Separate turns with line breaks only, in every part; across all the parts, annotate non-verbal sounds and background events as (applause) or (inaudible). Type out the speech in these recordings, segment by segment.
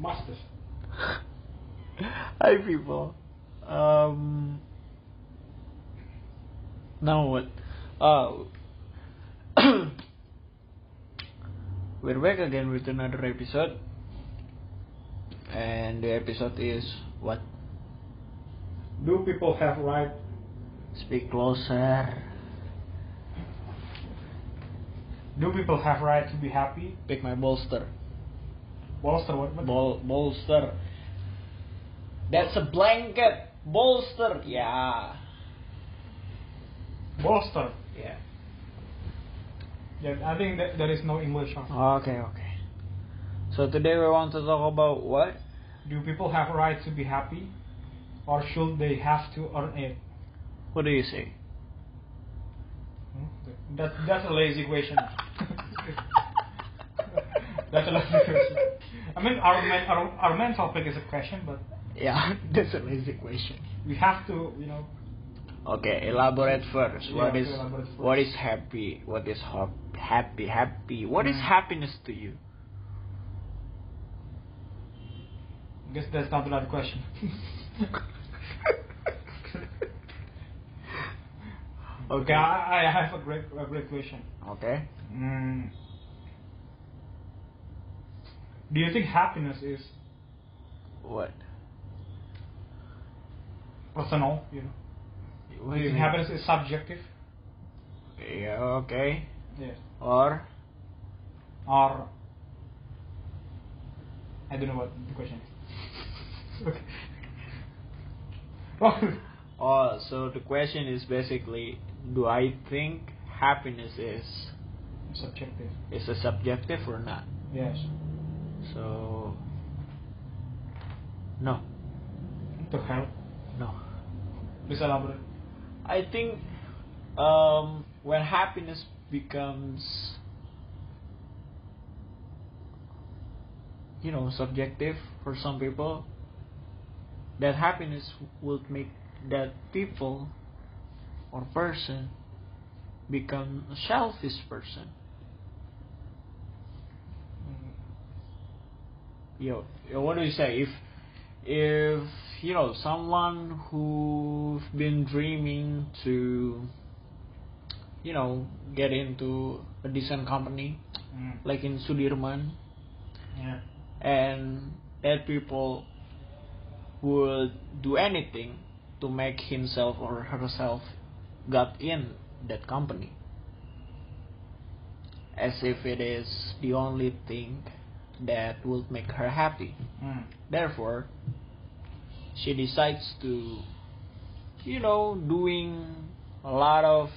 Masters.
Hi, people. Um. Now what? Uh. (coughs) we're back again with another episode. And the episode is what?
Do people have right?
Speak closer.
Do people have right to be happy?
Pick my bolster.
Bolster what? what?
Bol- bolster. That's a blanket. Bolster. Yeah.
Bolster.
Yeah.
Yeah, I think that there is no English. on.
Okay, okay. So today we want to talk about what?
Do people have right to be happy, or should they have to earn it?
What do you say?
Hmm? That that's a lazy question. that's a lazy question. I mean, our main our, our main topic is a question, but
Yeah, (laughs) that's a lazy question.
we have to you know
Okay, elaborate first.
Yeah,
What
okay,
is
elaborate first.
what is happy? What is hop happy? Happy. What is
Mm.
happiness to you?
(laughs) I guess that's not the right question. okay,
okay.
I, I have a great a great question.
Okay.
Mm. Do you think happiness is
What?
personal? You know, do you think happiness is subjective?
Yeah. Okay.
Yeah.
Or
Or I don't know what the question is. (laughs) okay. Well,
Oh, so the question is basically, do I think happiness is
(laughs) subjective.
is a subjective or not?
Yes.
So, no,
To help.
no.
Please elaborate.
I think um, when happiness becomes, you know, subjective for some people, that happiness would make that people or person become a selfish person.
Mm.
yo, yo what do you say if if you know someone who's been dreaming to you know get into a decent company
Mm.
like in Sudirman
Yeah.
and that people would do anything to make himself or herself got in that company as if it is the only thing that will make her happy
Mm.
Therefore, she decides to, you know, doing a lot of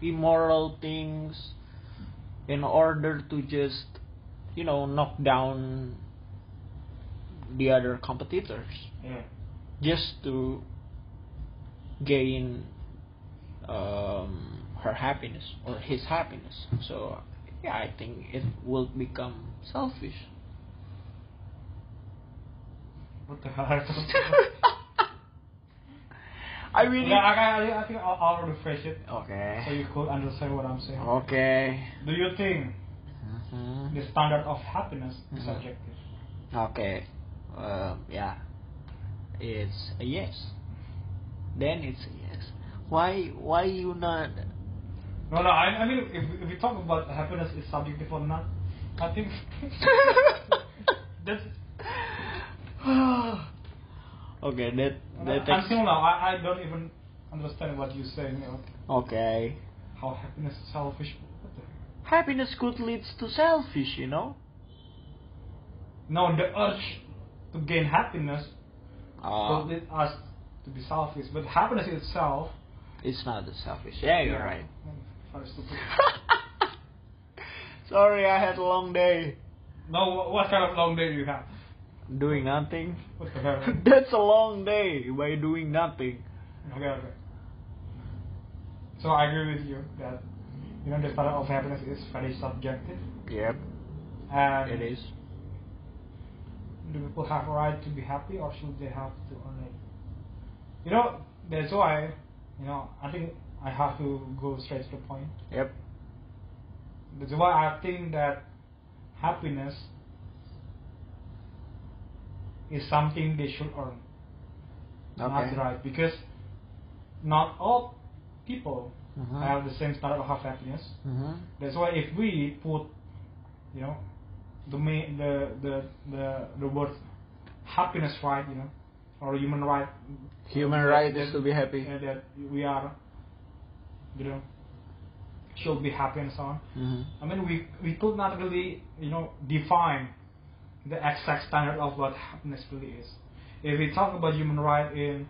immoral things in order to just, you know, knock down the other competitors
Yeah.
just to gain um, her happiness or his happiness. So, yeah, I think it will become selfish.
What the hell? I
(laughs)
don't
I really.
Yeah, I, I, I think I'll, I'll rephrase it so
Okay. Oh.
you could understand what I'm saying.
Okay.
Do you think
Mhm.
the standard of happiness is
Mhm.
subjective?
Okay. Um, yeah. It's a yes. Then it's a yes. Why? Why you not?
No, no. I, I mean, if, if we talk about happiness is subjective or not, I
(laughs)
think (laughs) that's
(sighs) okay. That that takes.
until now I, I don't even understand what you're saying. You know,
Okay.
how happiness is selfish. What the?
Happiness could leads to selfish. You know.
No, the urge to gain happiness
Ah,
will lead us to be selfish. But happiness itself.
Uh, it's not the selfish. Yeah, you're right.
Very stupid.
(laughs) Sorry, I had a long day
(laughs) no, what, what kind of long day do you have?
doing nothing. (laughs)
What the hell?
That's a long day by doing nothing.
Okay, okay. So I agree with you that you know the standard of happiness is very subjective,
Yep,
and
it is.
do people have a right to be happy or should they have to earn it? You know, that's why you know I think I have to go straight to the point.
Yep.
That's why I think that happiness is something they should earn. That's
Okay.
right, because not all people
Mhm.
have the same standard of happiness.
Mhm.
That's why if we put, you know, the main, the, the the the word happiness right, you know, or human right.
Human right is to be happy.
uh, that we are, you know, should be happy and so on.
Mhm.
I mean, we we could not really, you know, define the exact standard of what happiness really is. If we talk about human right in,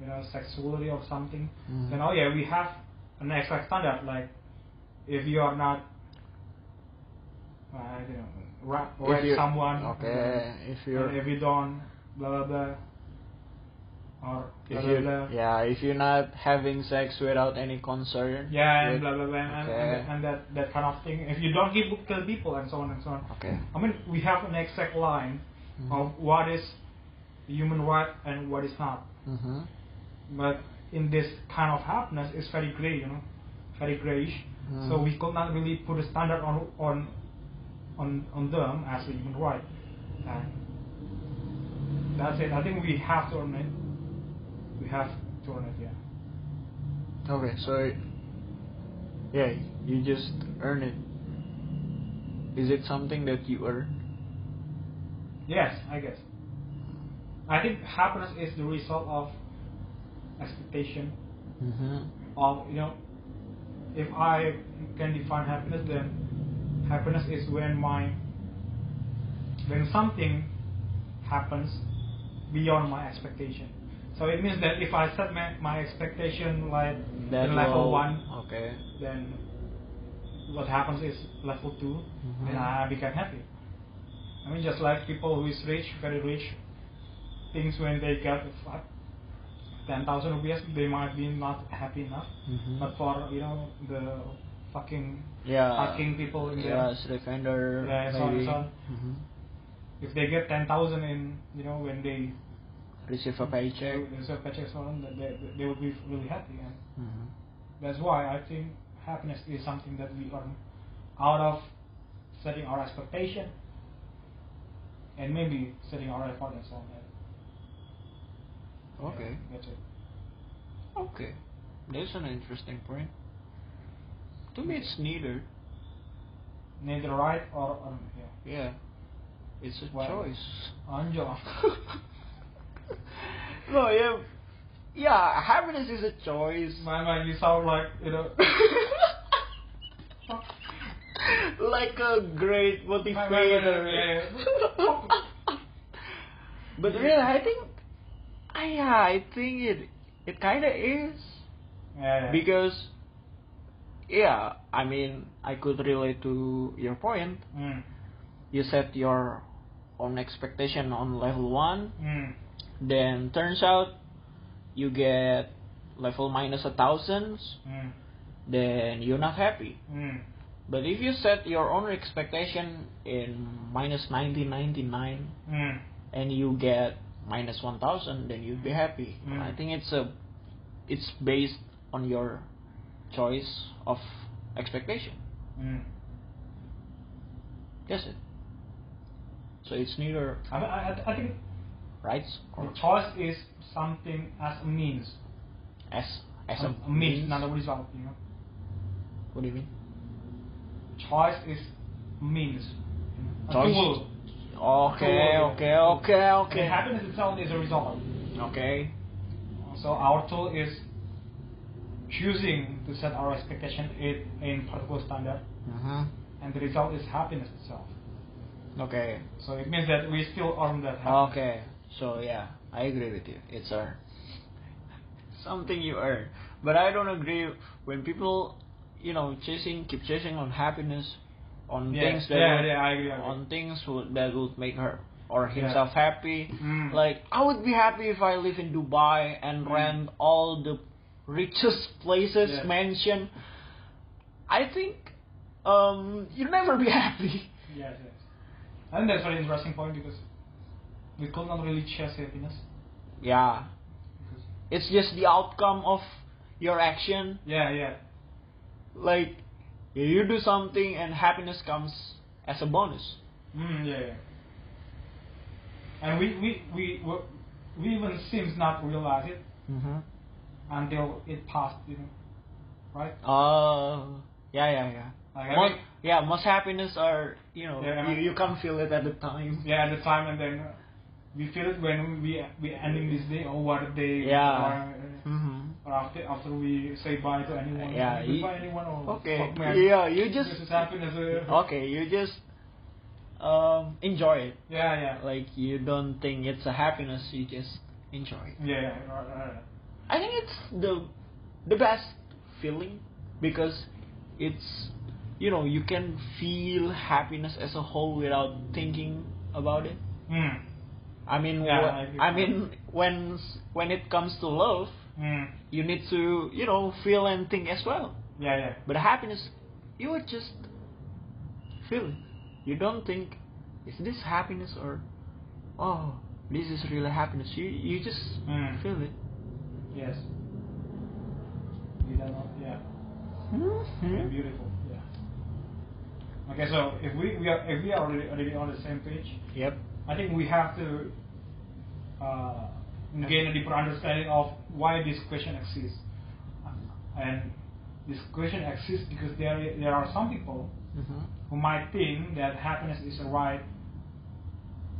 you know, sexuality or something,
Mhm.
then oh yeah, we have an exact standard. Like, if you are not, I don't know, ra-
If
rape
you-
someone,
Okay. If
you know,
you're.
and if you don't, blah blah blah, or blah
If
blah
you,
blah.
yeah, if you're not having sex without any concern.
Yeah, and
with-
blah blah blah, and,
Okay.
and, and that that kind of thing. If you don't give book kill people and so on and so on.
Okay. Oh.
I mean, we have an exact line
Mm-hmm.
of what is human right and what is not. Mm-hmm.
Mhm.
But in this kind of happiness, it's very gray, you know, very grayish. So
Mhm.
we could not really put a standard on on on on them as a human right. And that's it. I think we have to earn it. We have to earn it. Yeah.
Okay, so yeah, you just earn it. Is it something that you earn?
Yes, I guess. I think happiness is the result of expectation
Mm-hmm.
of you know if I can define happiness then happiness is when my when something happens beyond my expectation. So it means that if I set my, my expectation like in level one
Okay.
then what happens is level 2
Mhm.
and I become happy. I mean, just like people who is rich, very rich, things when they get fi- 10,000 rupees, they might be not happy enough.
Mhm.
But for, you know, the fucking
Yeah.
fucking people in
yeah,
there,
street vendor.
Yeah, so-
maybe.
so-
Mhm.
if they get 10,000 in, you know, when they
Receive a paycheck.
there's a paycheck so on, that they, they will be really happy. And
Mm-hmm.
That's why I think happiness is something that we earn out of setting our expectation and maybe setting our effort and so on. Yeah,
Okay.
that's it.
Okay. That's an interesting point. To me, it's neither.
Neither right or um, yeah.
Yeah. It's a
Why?
choice.
Angela.
(laughs) no, yeah, yeah. Happiness is a choice. (laughs)
My man, you sound like you know.
(laughs) like a great motivator. (laughs) but really, I think, ah, yeah, I think it it kinda is
Yeah, yeah.
because, yeah, I mean, I could relate to your point.
Mm.
You set your own expectation on level one,
Mm.
then turns out you get level minus a thousand,
Mm.
then you're not happy.
Mm.
But if you set your own expectation in minus 1999
Mm.
and you get minus 1000, then you'd be happy.
Mm.
I think it's a it's based on your choice of expectation.
Mm.
That's it. So it's neither
I, I, I think
rights or
the choice is something as a means,
as as a,
a means, not a result. You know.
What do you mean?
choice is means. A
Choice.
tool.
Okay,
Tool.
okay, okay,
And
okay.
happiness itself is a result.
Okay.
So our tool is choosing to set our expectation in, in particular standard,
Uh-huh.
and the result is happiness itself.
Okay.
So it means that we still earn that happiness.
Okay, so yeah, I agree with you. It's earned. Something you earn. But I don't agree when people, you know, chasing, keep chasing on happiness, on
Yeah,
things that
yeah,
would-
yeah, I agree, I agree.
on things would, that would make her or
Yeah.
himself happy.
Mm.
Like I would be happy if I live in Dubai and
Mm.
rent all the richest places,
Yeah.
mansion. I think um, you'll never be (laughs) happy.
Yes, yes. I think that's a very interesting point because we could not really chase happiness.
Yeah.
Because
It's just the outcome of your action.
yeah, yeah.
Like you do something and happiness comes as a bonus.
Mm, yeah, yeah. and we we we were, we even seems not realize it
Mm-hmm.
until it passed, you know, right?
Uh, yeah, yeah, yeah.
Like, I
Mo-
mean-
yeah, most happiness are you know
Yeah, I mean-
you, you can't feel it at the time.
Yeah, at the time, and then uh, we feel it when we we ending this day or what day
Yeah.
or, uh,
Mm-hmm.
or after after we say bye to anyone.
Yeah,
Goodbye
you-
anyone or
Okay.
fuck, man.
Yeah, you just
this is happiness. Uh,
okay. You just um enjoy it.
Yeah, yeah.
Like you don't think it's a happiness. You just enjoy it.
yeah, yeah, right, right, right.
I think it's the the best feeling because it's you know you can feel happiness as a whole without thinking about it.
Mm.
I mean,
Yeah,
wh-
I agree.
I mean when s- when it comes to love,
Mm.
you need to you know feel and think as well.
Yeah, yeah.
But happiness, you would just feel it. You don't think, is this happiness or, oh, this is really happiness. You you just
Mm.
feel it.
Yes. We don't know. Yeah.
Hmm?
Yeah, beautiful. Yeah. Okay, so if we, we are if we are already, already on the same page,
Yep.
I think we have to uh, gain a deeper understanding of why this question exists. And this question exists because there there are some people
hmm
who might think that happiness is a right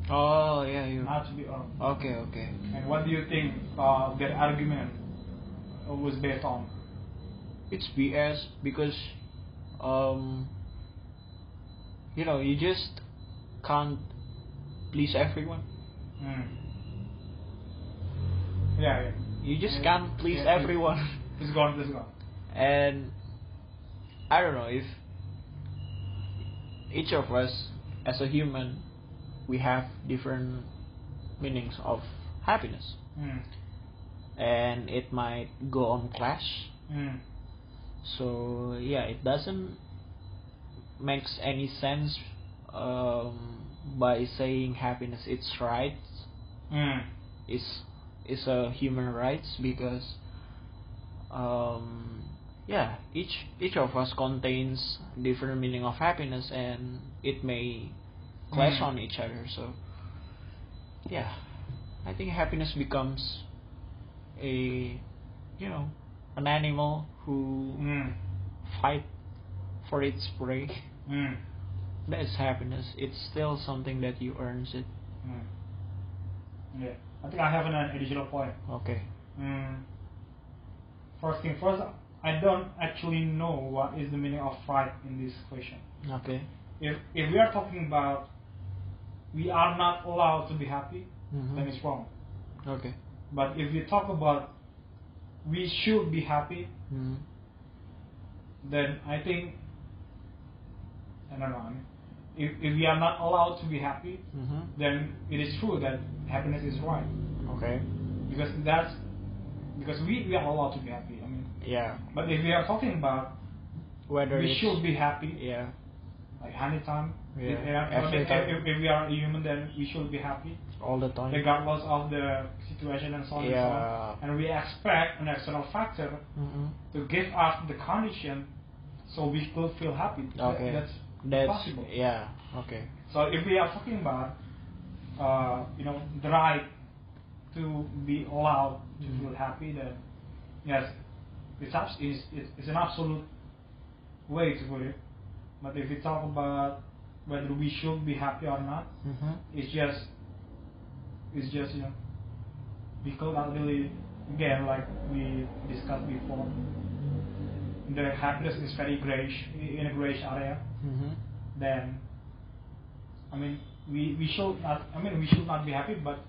Oh yeah, you.
not to be earned.
Okay, okay.
And what do you think uh, their argument was based on?
It's BS because, um, you know, you just can't please everyone.
Mm. Yeah, yeah.
You just
Yeah,
can't please
yeah, it's-
everyone. (laughs)
It's gone, it's gone.
and I don't know if each of us as a human we have different meanings of happiness
Mm.
and it might go on clash
Mm.
so yeah it doesn't makes any sense um, by saying happiness it's right
Mm.
is is a human rights because um, yeah each each of us contains different meaning of happiness and it may clash
Mm.
on each other so yeah I think happiness becomes a you know an animal who
Mm.
fight for its prey (laughs)
Mm.
that is happiness it's still something that you earns it
Mm. Hmm. Yeah. I think I have an additional point.
okay
Mm. First thing first, I don't actually know what is the meaning of right in this question.
okay
If if we are talking about we are not allowed to be happy,
Mhm.
then it's wrong.
okay
But if we talk about we should be happy,
Mhm.
then I think I don't know. I mean, if if we are not allowed to be happy,
Mhm.
then it is true that happiness is right
Okay.
because that's because we, we are allowed to be happy. I mean,
Yeah.
but if we are talking about
Whether
we
it's,
should be happy,
Yeah.
like anytime.
Yeah,
If, we are-
every
if,
time.
if, if we are a human, then we should be happy
All the time.
regardless of the situation and so on and so on.
Yeah.
And we expect an external factor
hmm
to give us the condition so we could feel happy. That-
Okay.
that's possible.
yeah. Okay.
So if we are talking about, uh, you know, the right to be allowed to
Mhm.
feel happy, then yes, it's, abs- it's, it's it's an absolute way to put it. But if we talk about whether we should be happy or not,
Mm-hmm.
it's just, it's just you know, we could not really again like we discussed before. The happiness is very grayish in a grayish area
Mm-hmm.
then I mean we, we should not I mean we should not be happy but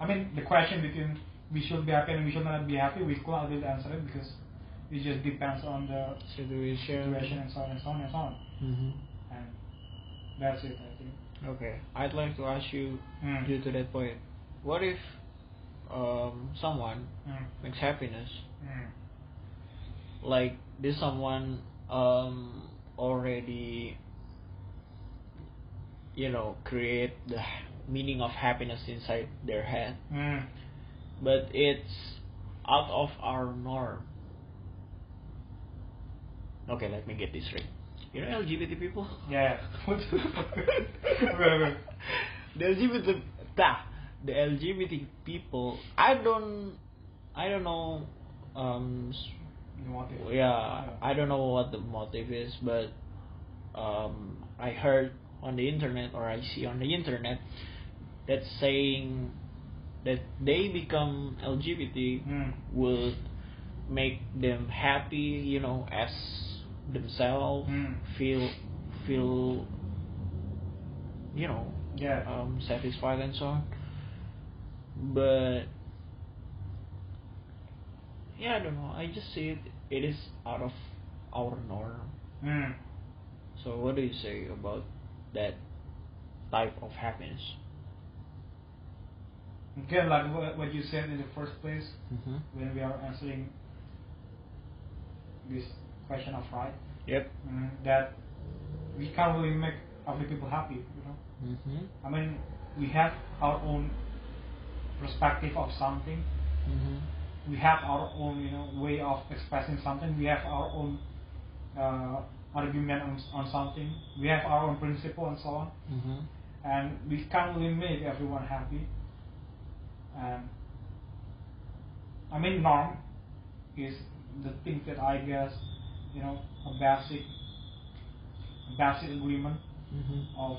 I mean the question between we should be happy and we should not be happy we could not really answer it because it just depends on the
Situation.
situation and so on and so on and so on
Mm-hmm.
and that's it I think
Okay. I'd like to ask you,
Mm.
due to that point, what if um, someone
mm.
makes happiness,
Mm.
like this someone um, already, you know, create the meaning of happiness inside their head,
Mm.
but it's out of our norm. Okay, let me get this right. You know LGBT people?
yeah
(laughs) the LGBT, nah, the LGBT people, I don't, I don't know, um, s-
You want it?
yeah, I don't know what the motive is, but um, I heard on the internet or I see on the internet that saying that they become LGBT
Mm.
will make them happy, you know, as themselves,
Mm.
feel feel you know
Yeah.
um, satisfied and so on. But yeah, I don't know. I just see it. It is out of our norm.
Mm.
So what do you say about that type of happiness?
Again, like what, what you said in the first place
Mm-hmm.
when we are answering this question of right,
Yep.
mm, that we can't really make other people happy. You know,
Mm-hmm.
I mean, we have our own perspective of something.
Mm-hmm.
We have our own, you know, way of expressing something. We have our own uh, argument on, on something. We have our own principle and so on.
Mm-hmm.
and Um, we can't really make everyone happy. And I mean, norm is the thing that I guess you know a basic, a basic agreement
Mm-hmm.
of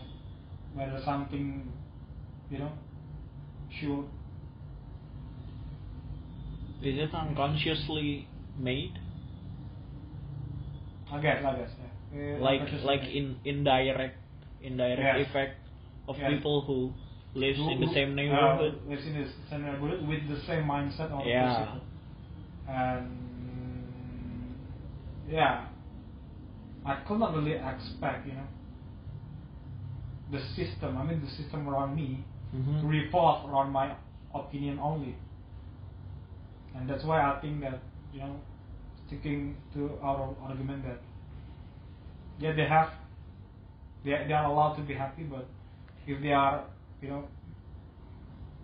whether something you know should
Is it unconsciously made?
I guess I guess yeah. Uh,
like
consciously
like
made.
in indirect indirect
Yes.
effect of
Yes.
people who lives
Who-
in the
who-
same neighborhood.
Uh, lives in the same neighborhood with the same mindset or
Yeah.
principle. And yeah, I could not really expect, you know, the system. I mean, the system around me to
Mhm.
revolve around my opinion only. And that's why I think that you know, sticking to our argument that yeah, they have, they they are allowed to be happy, but if they are you know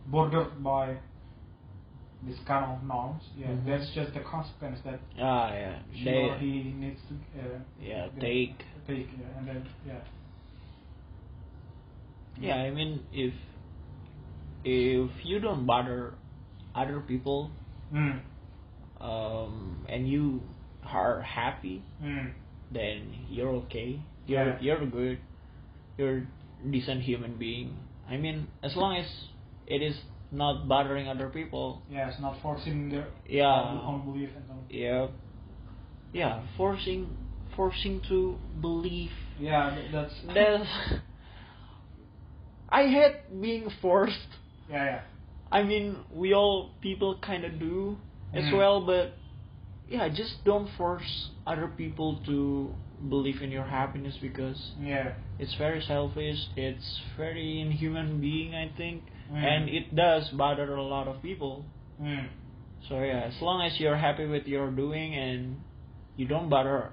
bordered by this kind of norms, yeah,
Mhm.
that's just the consequence that
Ah yeah.
she
They,
or he needs to uh,
Yeah,
yeah,
take.
take, yeah, and then yeah,
yeah, I mean if if you don't bother other people
mm.
um and you are happy
Mm.
then you're okay. You're
Yeah.
you're good. You're decent human being. I mean as long as it is not bothering other people
Yeah, it's not forcing their
Yeah.
own belief and all.
Yeah. Yeah, forcing forcing to believe.
Yeah, th- that's
That's (laughs) I hate being forced.
yeah, yeah.
I mean, we all people kind of do as
Mm.
well, but yeah, just don't force other people to believe in your happiness because
Yeah.
it's very selfish. It's very inhuman being, I think,
Mm.
and it does bother a lot of people.
Mm.
So yeah, as long as you're happy with your doing and you don't bother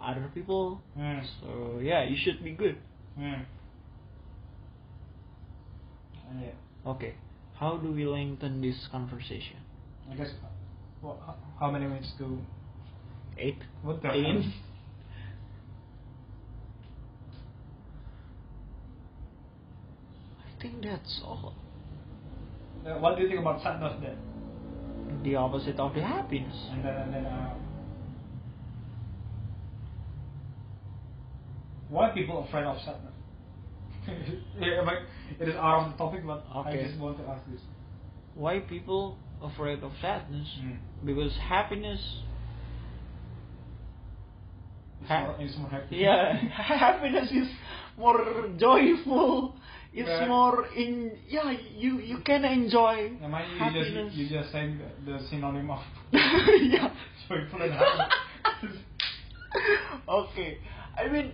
other people,
Mm.
so yeah, you should be good.
Mm. And yeah.
Okay, how do we lengthen this conversation?
I guess well, h- how many minutes do
Eight.
what the
Eight.
hell?
I think that's all.
Uh, what do you think about sadness then?
The opposite of the happiness.
And then and then uh, why people afraid of sadness? (laughs) yeah, but it is out of the topic, but
Okay.
I just want to ask this.
Why people afraid of sadness?
Mm.
Because happiness.
It's,
Ha-
more, it's more happy.
Yeah, (laughs)
(laughs)
happiness is more joyful. It's
Yeah.
more in. Yeah, you you can enjoy
Am I, you
happiness.
just you just saying the synonym of
(laughs) yeah.
joyful and happy?
(laughs) okay. I mean,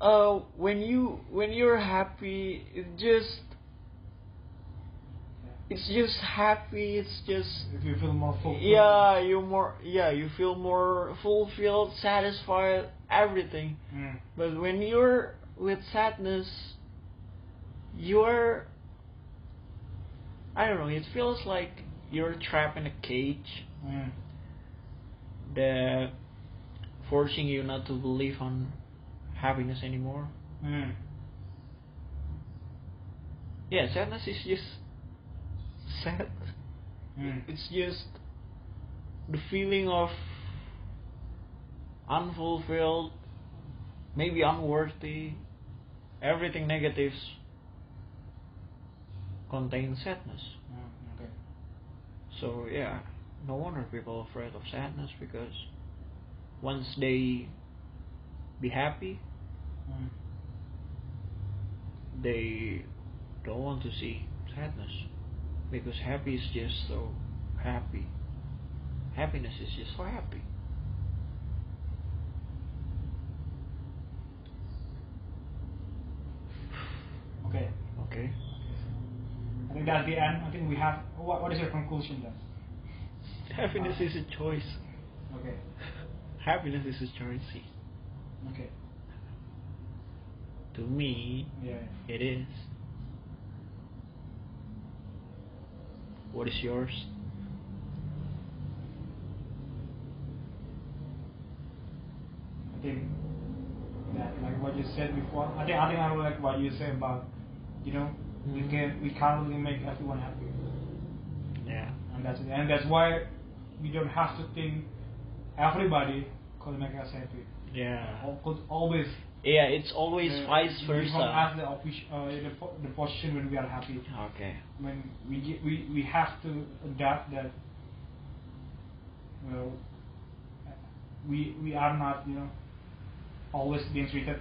uh, when you when you're happy, it just it's just happy. It's just
if you feel more fulfilled.
yeah. You more yeah. You feel more fulfilled, satisfied, everything.
Mm.
But when you're with sadness, you're I don't know. It feels like you're trapped in a cage
Mm.
that forcing you not to believe on happiness anymore.
Mm.
Yeah, sadness is just (laughs) sad.
Mm.
It's just the feeling of unfulfilled, maybe unworthy, everything negatives contain sadness.
Mm, okay.
So yeah, no wonder people are afraid of sadness because once they be happy,
Mm.
they don't want to see sadness because happy is just so happy. Happiness is just so happy.
Okay.
Okay.
I think that's the end. I think we have. What, what is your conclusion then?
Happiness is a choice. (laughs)
Okay.
Happiness is a currency.
Okay.
To me,
Yeah.
it is. What is yours?
I think that like what you said before. I think I think I really like what you say about you know we
Mhm.
can we can't really make everyone happy,
Yeah.
and that's it. and that's why we don't have to think everybody could make us happy.
Yeah.
Or could always.
Yeah, it's always
uh,
vice
Give us
versa.
the, oppos- uh, the, po- the position when we are happy.
Okay.
when we ge- we we have to adapt that well we we are not you know always being treated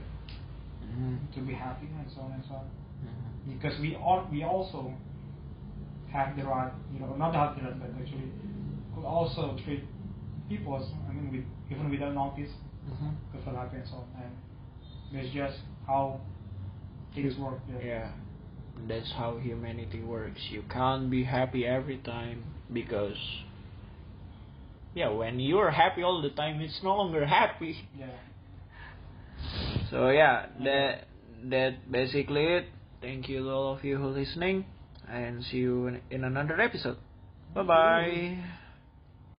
Mhm.
to be happy and so on and so on
Mhm.
because we all we also have the right you know not have the right but actually could also treat people I mean with even without notice
Mhm.
could feel happy and so on and that's just how things work
Yeah. That's how humanity works. You can't be happy every time because yeah, when you're happy all the time, it's no longer happy.
yeah.
So yeah,
Mm-hmm.
that that basically it. Thank you to all of you who listening, and see you in, in another episode. Bye bye.